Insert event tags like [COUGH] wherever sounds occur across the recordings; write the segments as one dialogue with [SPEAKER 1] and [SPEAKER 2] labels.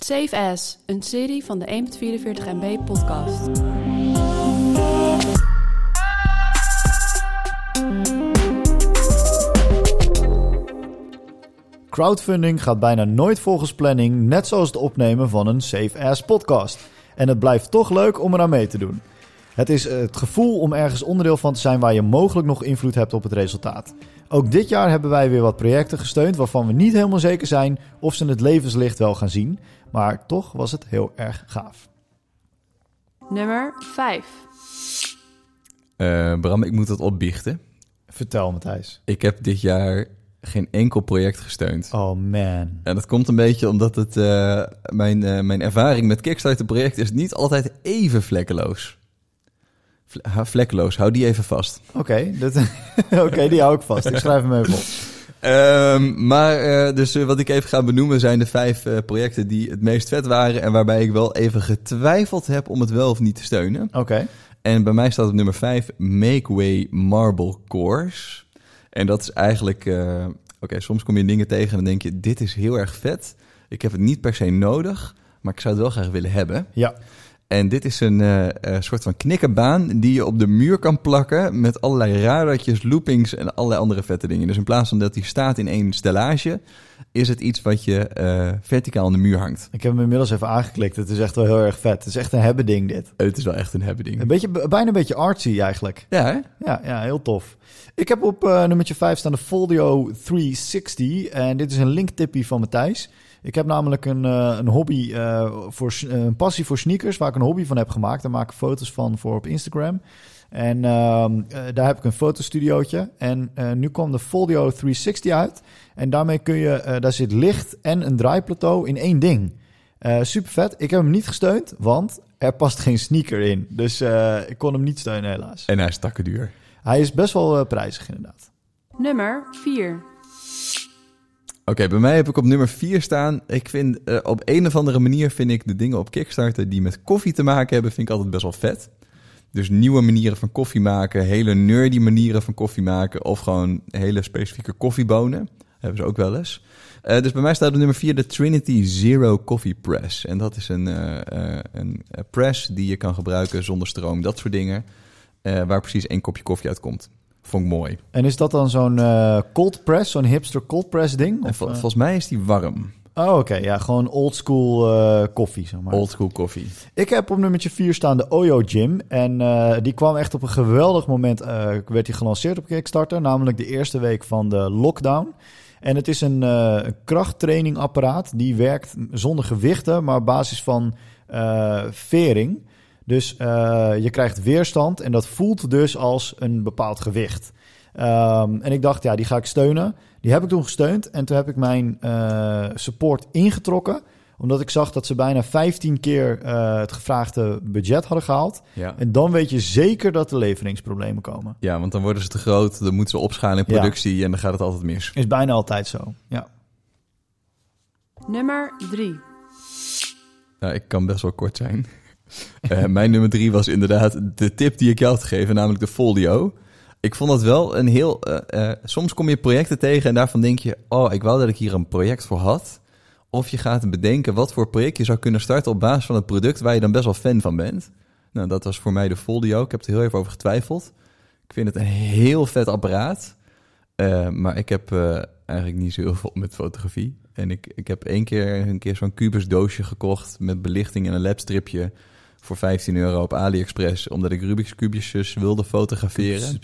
[SPEAKER 1] Safe As, een serie van de 1.44 MB podcast.
[SPEAKER 2] Crowdfunding gaat bijna nooit volgens planning, net zoals het opnemen van een Safe Ass podcast. En het blijft toch leuk om eraan mee te doen. Het is eh, het gevoel om ergens onderdeel van te zijn waar je mogelijk nog invloed hebt op het resultaat. Ook dit jaar hebben wij weer wat projecten gesteund waarvan we niet helemaal zeker zijn of ze het levenslicht wel gaan zien. Maar toch was het heel erg gaaf.
[SPEAKER 1] Nummer 5.
[SPEAKER 3] Eh, Bram, ik moet dat opbiechten.
[SPEAKER 2] Vertel Matthijs.
[SPEAKER 3] Ik heb dit jaar geen enkel project gesteund.
[SPEAKER 2] Oh man.
[SPEAKER 3] En dat komt een beetje omdat het, eh, mijn, eh, mijn ervaring met Kickstarter-projecten is niet altijd even vlekkeloos. Vle- ha, vlekkeloos, hou die even vast.
[SPEAKER 2] Oké, dat [LAUGHS] oké, die hou ik vast. Ik schrijf hem even op.
[SPEAKER 3] Ehm, maar eh, dus eh, wat ik even ga benoemen zijn de vijf eh, projecten die het meest vet waren en waarbij ik wel even getwijfeld heb om het wel of niet te steunen.
[SPEAKER 2] Oké.
[SPEAKER 3] En bij mij staat op nummer 5 Make Way Marble Course. En dat is eigenlijk. eh, Oké, soms kom je dingen tegen en dan denk je: dit is heel erg vet. Ik heb het niet per se nodig, maar ik zou het wel graag willen hebben.
[SPEAKER 2] Ja.
[SPEAKER 3] En dit is een eh, eh, soort van knikkenbaan die je op de muur kan plakken met allerlei radertjes, loopings en allerlei andere vette dingen. Dus in plaats van dat die staat in één stellage, is het iets wat je eh, verticaal aan de muur hangt.
[SPEAKER 2] Ik heb hem inmiddels even aangeklikt. Het is echt wel heel erg vet. Het is echt een hebben ding dit.
[SPEAKER 3] Het is wel echt een hebben
[SPEAKER 2] Een
[SPEAKER 3] ding.
[SPEAKER 2] beetje, bijna een beetje artsy eigenlijk.
[SPEAKER 3] Ja, hè?
[SPEAKER 2] Ja, ja, heel tof. Ik heb op eh nummertje 5 staan de Folio 360. En dit is een linktippie van Matthijs. Ik heb namelijk een, eh, een hobby eh, voor s- eh, een passie voor sneakers, waar ik een hobby van heb gemaakt. Daar maak ik foto's van voor op Instagram. En ehm, eh, daar heb ik een fotostudiootje. En eh, nu kwam de Folio 360 uit. En daarmee kun je, eh, daar zit licht en een draaiplateau in één ding. Eh, super vet. Ik heb hem niet gesteund, want er past geen sneaker in. Dus eh, ik kon hem niet steunen, helaas.
[SPEAKER 3] En hij is takken duur.
[SPEAKER 2] Hij is best wel eh, prijzig, inderdaad.
[SPEAKER 1] Nummer 4.
[SPEAKER 3] Oké, bij mij heb ik op nummer 4 staan. Ik vind eh, op een of andere manier vind ik de dingen op Kickstarter die met koffie te maken hebben, vind ik altijd best wel vet. Dus nieuwe manieren van koffie maken, hele nerdy manieren van koffie maken of gewoon hele specifieke koffiebonen. Hebben ze ook wel eens. Eh, dus bij mij staat op nummer 4 de Trinity Zero Coffee Press. En dat is een, eh, eh, een eh, press die je kan gebruiken zonder stroom, dat soort dingen. eh, waar precies één kopje koffie uitkomt. Vond ik mooi.
[SPEAKER 2] En is dat dan zo'n eh, cold press, zo'n hipster cold press ding?
[SPEAKER 3] en
[SPEAKER 2] Of,
[SPEAKER 3] vol-
[SPEAKER 2] eh,
[SPEAKER 3] volgens mij is die warm.
[SPEAKER 2] oh, oké. ja, gewoon old school eh, koffie, zeg maar.
[SPEAKER 3] Old school koffie.
[SPEAKER 2] Ik heb op nummertje 4 staan de Oyo Gym. En eh, die kwam echt op een geweldig moment, eh, werd die gelanceerd op Kickstarter. Namelijk de eerste week van de lockdown. En het is een eh, een krachttrainingapparaat die werkt zonder gewichten, maar op basis van eh, vering. Dus eh, je krijgt weerstand en dat voelt dus als een bepaald gewicht. Ehm, en ik dacht, ja, die ga ik steunen. Die heb ik toen gesteund en toen heb ik mijn eh, support ingetrokken. Omdat ik zag dat ze bijna 15 keer eh, het gevraagde budget hadden gehaald.
[SPEAKER 3] Ja.
[SPEAKER 2] En dan weet je zeker dat er leveringsproblemen komen.
[SPEAKER 3] ja, want dan worden ze te groot, dan moeten ze opschalen in
[SPEAKER 2] Ja.
[SPEAKER 3] productie en dan gaat het altijd mis.
[SPEAKER 2] Is bijna altijd zo. Ja.
[SPEAKER 1] Nummer 3.
[SPEAKER 3] Nou, ik kan best wel kort zijn. [LAUGHS] Eh, mijn nummer drie was inderdaad de tip die ik jou had gegeven, namelijk de folio. Ik vond dat wel een heel... eh, eh, soms kom je projecten tegen en daarvan denk je... oh, ik wou dat ik hier een project voor had. Of je gaat bedenken wat voor project je zou kunnen starten... op basis van het product waar je dan best wel fan van bent. Nou, dat was voor mij de folio. Ik heb er heel even over getwijfeld. Ik vind het een heel vet apparaat. Eh, maar ik heb eh, eigenlijk niet zo heel veel met fotografie. En ik, ik heb één keer, een keer zo'n kubus doosje gekocht met belichting en een labstripje voor 15 euro op AliExpress. Omdat ik Rubik's kubusjes wilde fotograferen.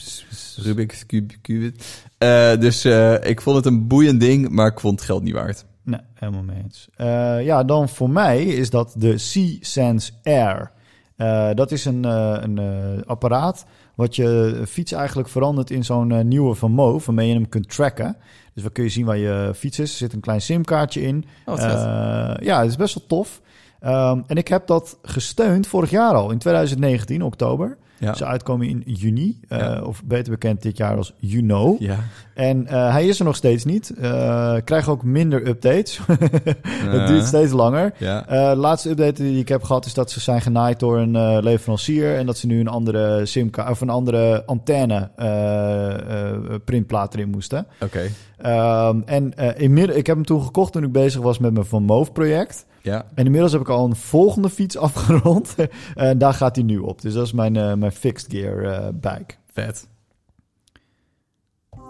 [SPEAKER 3] Rubik's cube, cube. Eh, dus eh, ik vond het een boeiend ding, maar ik vond het geld niet waard.
[SPEAKER 2] Nee, helemaal mee eens. Eh, ja, dan voor mij is dat de C-Sense Air. Eh, dat is een, eh, een eh, apparaat wat je eh, fiets eigenlijk verandert in zo'n eh, nieuwe van Move, waarmee je hem kunt tracken. Dus dan kun je zien waar je fiets is. Er zit een klein simkaartje in.
[SPEAKER 3] Oh, wat vet.
[SPEAKER 2] Eh, ja, het is best wel tof. Ehm, en ik heb dat gesteund vorig jaar al, in 2019, oktober.
[SPEAKER 3] ja.
[SPEAKER 2] Ze uitkomen in juni, eh,
[SPEAKER 3] Ja.
[SPEAKER 2] of beter bekend dit jaar als You Know.
[SPEAKER 3] ja.
[SPEAKER 2] [LAUGHS] En eh, hij is er nog steeds niet. Eh krijg ook minder updates. [LAUGHS]
[SPEAKER 3] Eh,
[SPEAKER 2] Het duurt steeds langer.
[SPEAKER 3] Ja.
[SPEAKER 2] Eh, de laatste update die ik heb gehad is dat ze zijn genaaid door een eh, leverancier. En dat ze nu een andere simka of een andere antenne eh, eh, printplaat erin moesten.
[SPEAKER 3] Oké.
[SPEAKER 2] Ehm, en eh, inmiddels, ik heb hem toen gekocht toen ik bezig was met mijn Van Moof project.
[SPEAKER 3] Ja.
[SPEAKER 2] En inmiddels heb ik al een volgende fiets [LAUGHS] afgerond. en daar gaat hij nu op. Dus dat is mijn, eh, mijn fixed gear eh, bike.
[SPEAKER 3] Vet.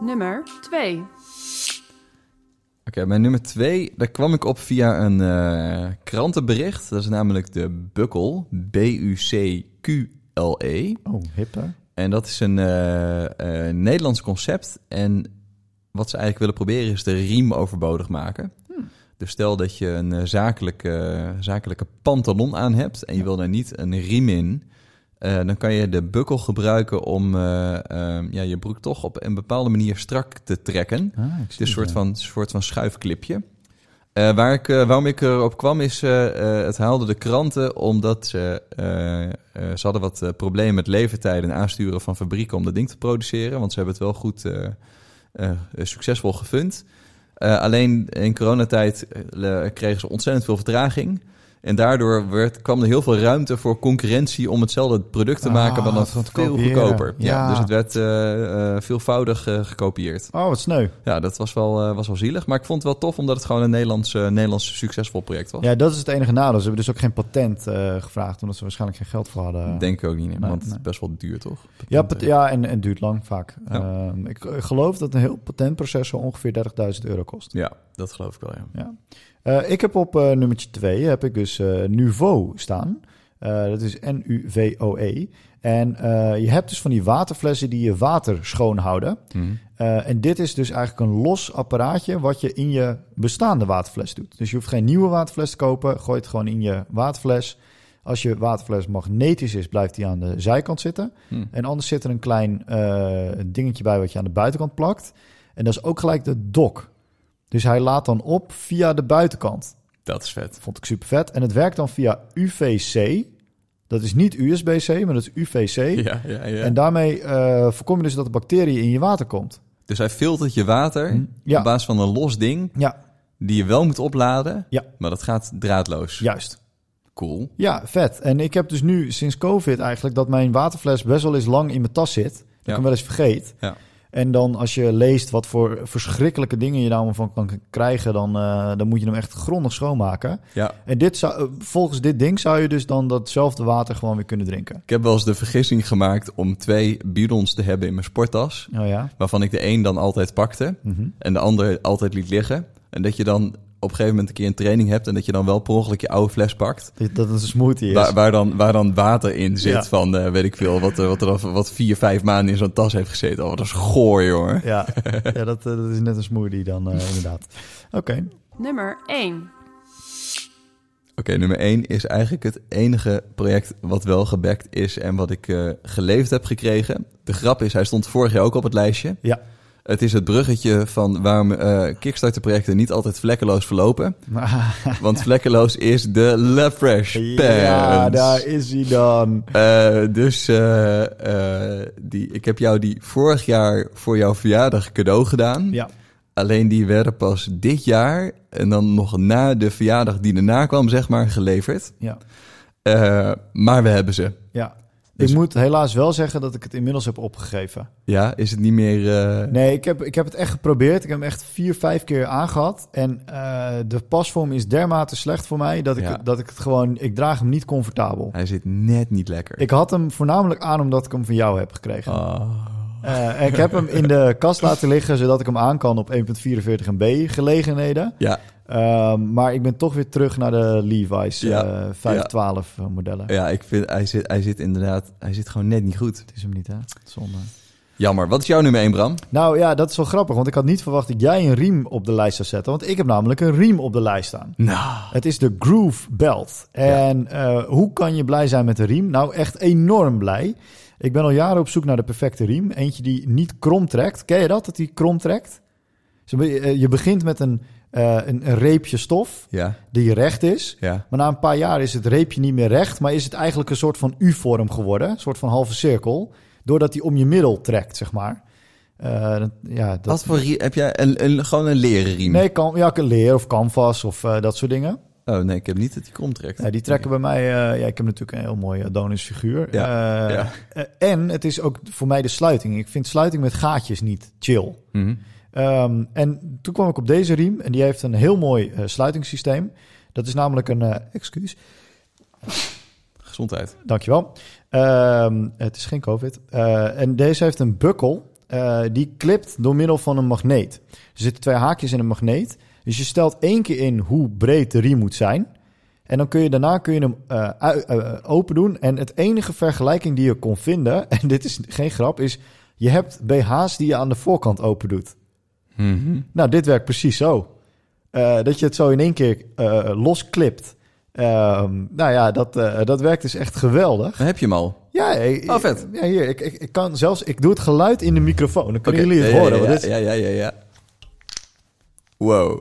[SPEAKER 1] Nummer 2.
[SPEAKER 3] Oké, mijn nummer twee, daar kwam ik op via een eh, krantenbericht. Dat is namelijk de Bukkel, B-U-C-Q-L-E.
[SPEAKER 2] Oh, hip hè?
[SPEAKER 3] En dat is een eh, eh, Nederlands concept. En wat ze eigenlijk willen proberen is de riem overbodig maken. Dus stel dat je een eh, zakelijke, eh, zakelijke pantalon aan hebt en je wil daar niet een riem in. eh, dan kan je de bukkel gebruiken om eh, eh, ja, je broek toch op een bepaalde manier strak te trekken.
[SPEAKER 2] Ah, ik
[SPEAKER 3] Het
[SPEAKER 2] zie
[SPEAKER 3] is een soort
[SPEAKER 2] ja.
[SPEAKER 3] van, soort van schuifclipje. Eh, waar ik, eh, waarom ik erop kwam is, eh, eh, het haalde de kranten omdat ze, eh, eh, ze hadden wat eh, problemen met levertijden en aansturen van fabrieken om dat ding te produceren. Want ze hebben het wel goed eh, eh, eh, succesvol gefund. Eh, alleen in coronatijd eh, le- kregen ze ontzettend veel vertraging. En daardoor werd, kwam er heel veel ruimte voor concurrentie om hetzelfde product te maken,
[SPEAKER 2] Ah,
[SPEAKER 3] maar dan
[SPEAKER 2] van te
[SPEAKER 3] veel
[SPEAKER 2] kopiëren.
[SPEAKER 3] goedkoper. Ja.
[SPEAKER 2] Ja.
[SPEAKER 3] dus het werd eh, eh, veelvoudig eh, gekopieerd.
[SPEAKER 2] Oh, wat sneu.
[SPEAKER 3] Ja, dat was wel, eh, was wel zielig. Maar ik vond het wel tof, omdat het gewoon een Nederlands, eh, Nederlands succesvol project was.
[SPEAKER 2] Ja, dat is het enige nadeel. Ze hebben dus ook geen patent eh, gevraagd, omdat ze waarschijnlijk geen geld voor hadden.
[SPEAKER 3] Denk ik ook niet, nee,
[SPEAKER 2] Nee,
[SPEAKER 3] want het
[SPEAKER 2] nee.
[SPEAKER 3] is best wel duur, toch?
[SPEAKER 2] ja,
[SPEAKER 3] Patenten.
[SPEAKER 2] pat- ja en, en duurt lang vaak.
[SPEAKER 3] Ja.
[SPEAKER 2] Ehm, ik eh, geloof dat een heel patentproces zo ongeveer 30.000 euro kost.
[SPEAKER 3] Ja, dat geloof ik wel, ja.
[SPEAKER 2] Eh, ik heb op eh nummertje 2 heb ik dus eh Nuvo staan. Eh, dat is N-U-V-O-E. E. En eh, je hebt dus van die waterflessen die je water schoonhouden. Eh, en dit is dus eigenlijk een los apparaatje wat je in je bestaande waterfles doet. Dus je hoeft geen nieuwe waterfles te kopen. Gooi het gewoon in je waterfles. Als je waterfles magnetisch is, blijft die aan de zijkant zitten.
[SPEAKER 3] Hm.
[SPEAKER 2] En anders zit er een klein eh, dingetje bij wat je aan de buitenkant plakt. En dat is ook gelijk de dok. Dus hij laat dan op via de buitenkant.
[SPEAKER 3] Dat is
[SPEAKER 2] [LAUGHS]
[SPEAKER 3] vet.
[SPEAKER 2] Vond ik super vet. En het werkt dan via UVC. Dat is niet USB-C, maar dat is UVC.
[SPEAKER 3] Ja, ja, ja.
[SPEAKER 2] En daarmee eh, voorkom je dus dat de bacteriën in je water komt.
[SPEAKER 3] Dus hij filtert je water
[SPEAKER 2] Hm. Ja.
[SPEAKER 3] op basis van een los ding
[SPEAKER 2] Ja,
[SPEAKER 3] die je wel moet opladen,
[SPEAKER 2] Ja.
[SPEAKER 3] maar dat gaat draadloos.
[SPEAKER 2] juist.
[SPEAKER 3] Cool.
[SPEAKER 2] Ja, vet. En ik heb dus nu sinds COVID eigenlijk dat mijn waterfles best wel eens lang in mijn tas zit. Dat
[SPEAKER 3] Ja.
[SPEAKER 2] ik hem wel eens vergeet.
[SPEAKER 3] Ja.
[SPEAKER 2] En dan als je leest wat voor verschrikkelijke dingen je daar van kan krijgen, dan, eh, dan moet je hem echt grondig schoonmaken.
[SPEAKER 3] Ja.
[SPEAKER 2] En dit zou, eh, volgens dit ding zou je dus dan datzelfde water gewoon weer kunnen drinken.
[SPEAKER 3] Ik heb wel eens de vergissing gemaakt om twee bidons te hebben in mijn sporttas,
[SPEAKER 2] Oh ja.
[SPEAKER 3] waarvan ik de een dan altijd pakte.
[SPEAKER 2] Mhm.
[SPEAKER 3] en de ander altijd liet liggen. En dat je dan op een gegeven moment een keer een training hebt en dat je dan wel per ongeluk je oude fles pakt.
[SPEAKER 2] Dit- Dat is een smoothie. Is.
[SPEAKER 3] Waar, waar, dan, waar dan water in zit
[SPEAKER 2] Ja.
[SPEAKER 3] van, eh, weet ik veel, wat, eh, wat er dan wat vier, vijf maanden in zo'n tas heeft gezeten. Oh, dat is goor, jongen.
[SPEAKER 2] Ja, ja dat, eh, dat is net een smoothie dan eh, inderdaad. Oké.
[SPEAKER 1] Nummer 1.
[SPEAKER 3] Oké, nummer één is eigenlijk het enige project wat wel gebackt is en wat ik eh, geleefd heb gekregen. De grap is, hij stond vorig jaar ook op het lijstje.
[SPEAKER 2] Ja.
[SPEAKER 3] Het is het bruggetje van waarom eh Kickstarter-projecten niet altijd vlekkeloos verlopen. Want vlekkeloos is de LaFresh Pants.
[SPEAKER 2] Ja, daar is hij dan.
[SPEAKER 3] Eh, dus eh, eh, die, ik heb jou die vorig jaar voor jouw verjaardag cadeau gedaan.
[SPEAKER 2] Ja.
[SPEAKER 3] Alleen die werden pas dit jaar en dan nog na de verjaardag die erna kwam, zeg maar, geleverd.
[SPEAKER 2] Ja.
[SPEAKER 3] Eh, maar we hebben ze.
[SPEAKER 2] Ja.
[SPEAKER 3] Dus-
[SPEAKER 2] Ik moet helaas wel zeggen dat ik het inmiddels heb opgegeven.
[SPEAKER 3] Ja, is het niet meer... eh,
[SPEAKER 2] Nee, ik heb, ik heb het echt geprobeerd. Ik heb hem echt vier, vijf keer aangehad. En eh, de pasvorm is dermate slecht voor mij dat ik,
[SPEAKER 3] Ja.
[SPEAKER 2] dat ik het gewoon... Ik draag hem niet comfortabel.
[SPEAKER 3] Hij zit net niet lekker.
[SPEAKER 2] Ik had hem voornamelijk aan omdat ik hem van jou heb gekregen.
[SPEAKER 3] Ah.
[SPEAKER 2] Eh, en ik heb hem in
[SPEAKER 3] [LAUGHS]
[SPEAKER 2] de kast laten liggen zodat ik hem aan kan op 1.44 MB gelegenheden.
[SPEAKER 3] Ja,
[SPEAKER 2] Ehm, maar ik ben toch weer terug naar de Levi's eh,
[SPEAKER 3] Ja,
[SPEAKER 2] 512 modellen.
[SPEAKER 3] ja, ik vind, hij zit, hij zit inderdaad, hij zit gewoon net niet goed.
[SPEAKER 2] Het is hem niet, hè? Zonde.
[SPEAKER 3] Jammer. Wat is jouw nummer 1, Bram?
[SPEAKER 2] Nou ja, dat is wel grappig, want ik had niet verwacht dat jij een riem op de lijst zou zetten. Want ik heb namelijk een riem op de lijst staan.
[SPEAKER 3] Nou,
[SPEAKER 2] Het is de Groove Belt. En eh, hoe kan je blij zijn met een riem? Nou, echt enorm blij. Ik ben al jaren op zoek naar de perfecte riem. Eentje die niet krom trekt. Ken je dat, dat die krom trekt? Dus een beetje, eh, je begint met een, eh, een, een reepje stof
[SPEAKER 3] ja,
[SPEAKER 2] die recht is.
[SPEAKER 3] ja.
[SPEAKER 2] Maar na een paar jaar is het reepje niet meer recht, maar is het eigenlijk een soort van U-vorm geworden, een soort van halve cirkel, doordat hij om je middel trekt, zeg maar. Eh, dat- ja, dat,
[SPEAKER 3] Wat voor riem? Heb jij een, een, gewoon een leren riem?
[SPEAKER 2] nee, kan, ja, leer of canvas of eh, dat soort dingen.
[SPEAKER 3] Oh nee, ik heb niet dat die krom trekt.
[SPEAKER 2] Ja, die trekken bij mij, eh, ja, ik heb natuurlijk een heel mooi Adonis figuur.
[SPEAKER 3] Ja,
[SPEAKER 2] Eh,
[SPEAKER 3] ja.
[SPEAKER 2] eh, en het is ook voor mij de sluiting. Ik vind sluiting met gaatjes niet chill.
[SPEAKER 3] Mhm.
[SPEAKER 2] Ehm, en toen kwam ik op deze riem en die heeft een heel mooi eh, sluitingssysteem. Dat is namelijk een eh, excuus.
[SPEAKER 3] Gezondheid.
[SPEAKER 2] Dankjewel. Ehm het is geen COVID. Eh, en deze heeft een bukkel. eh, die klipt door middel van een magneet. Er zitten twee haakjes in een magneet. Dus je stelt één keer in hoe breed de riem moet zijn. En dan kun je daarna kun je hem eh, ui- eh, open doen. En het enige vergelijking die je kon vinden, [LAUGHS] en dit is geen grap, is je hebt BH's die je aan de voorkant open doet. Nou, dit werkt precies zo. Eh, dat je het zo in één keer eh losklipt. Ehm, nou ja, dat, eh, dat werkt dus echt geweldig.
[SPEAKER 3] Dan heb je hem al.
[SPEAKER 2] Ja, ik,
[SPEAKER 3] Oh, vet.
[SPEAKER 2] Ja, hier, ik, ik, ik kan zelfs... Ik doe het geluid in de microfoon. Dan kunnen
[SPEAKER 3] Oké,
[SPEAKER 2] jullie het
[SPEAKER 3] ja, ja,
[SPEAKER 2] horen.
[SPEAKER 3] Ja,
[SPEAKER 2] want dit is-
[SPEAKER 3] ja, ja, ja, ja. Wow.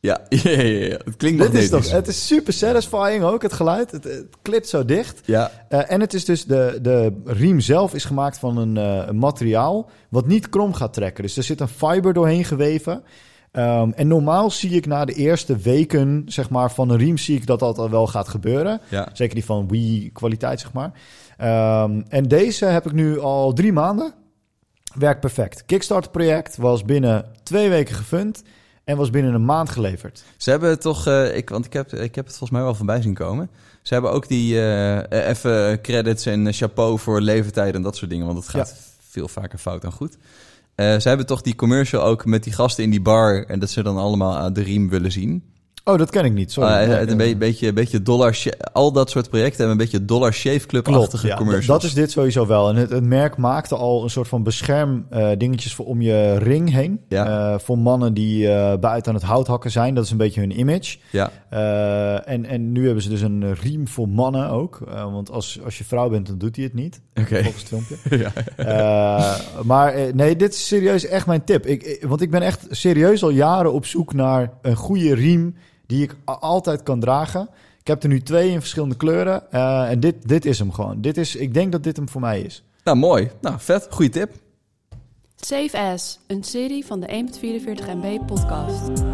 [SPEAKER 3] Ja, [LAUGHS] ja, ja, ja. Het klinkt
[SPEAKER 2] dit is
[SPEAKER 3] magnetisch.
[SPEAKER 2] toch, het is super satisfying ook, het geluid. Het, het klipt zo dicht.
[SPEAKER 3] Ja,
[SPEAKER 2] Eh, en het is dus de, de riem zelf is gemaakt van een, eh, een materiaal wat niet krom gaat trekken. Dus er zit een fiber doorheen geweven. Ehm, en normaal zie ik na de eerste weken zeg maar, van een riem zie ik dat dat al wel gaat gebeuren.
[SPEAKER 3] ja.
[SPEAKER 2] Zeker die van Wii kwaliteit, zeg maar. Ehm, en deze heb ik nu al drie maanden. Werkt perfect. Kickstarter project was binnen twee weken gefund en was binnen een maand geleverd.
[SPEAKER 3] Ze hebben toch, eh, ik, want ik heb, ik heb het volgens mij wel voorbij zien komen. Ze hebben ook die eh, eh, even credits en eh, chapeau voor levertijd en dat soort dingen. Want dat gaat veel vaker fout dan goed. Eh, ze hebben toch die commercial ook met die gasten in die bar. En dat ze dan allemaal aan de riem willen zien.
[SPEAKER 2] Oh, dat ken ik niet. Sorry.
[SPEAKER 3] Ah, eh,
[SPEAKER 2] Nee,
[SPEAKER 3] het
[SPEAKER 2] eh,
[SPEAKER 3] een be- beetje, beetje dollar, Sha- al dat soort projecten hebben een beetje dollar shave club-achtige
[SPEAKER 2] ja,
[SPEAKER 3] commercials.
[SPEAKER 2] Dat is dit sowieso wel. En het, het merk maakte al een soort van bescherm eh, dingetjes voor om je ring heen.
[SPEAKER 3] Ja.
[SPEAKER 2] Eh, voor mannen die eh, buiten aan het hout hakken zijn. Dat is een beetje hun image.
[SPEAKER 3] Ja,
[SPEAKER 2] Eh, en, en nu hebben ze dus een riem voor mannen ook. Eh, want als, als je vrouw bent, dan doet hij het niet.
[SPEAKER 3] oké.
[SPEAKER 2] [LAUGHS] Volgens het filmpje.
[SPEAKER 3] [LAUGHS] ja.
[SPEAKER 2] Eh, maar eh, nee, dit is serieus echt mijn tip. Ik, ik- want ik ben echt serieus al jaren op zoek naar een goede riem die ik a- altijd kan dragen. Ik heb er nu twee in verschillende kleuren. eh, en dit, dit is hem gewoon. Dit is, ik denk dat dit hem voor mij is.
[SPEAKER 3] Nou, mooi. Nou, vet. Goeie tip.
[SPEAKER 1] Safe As, een serie van de 144 MB podcast.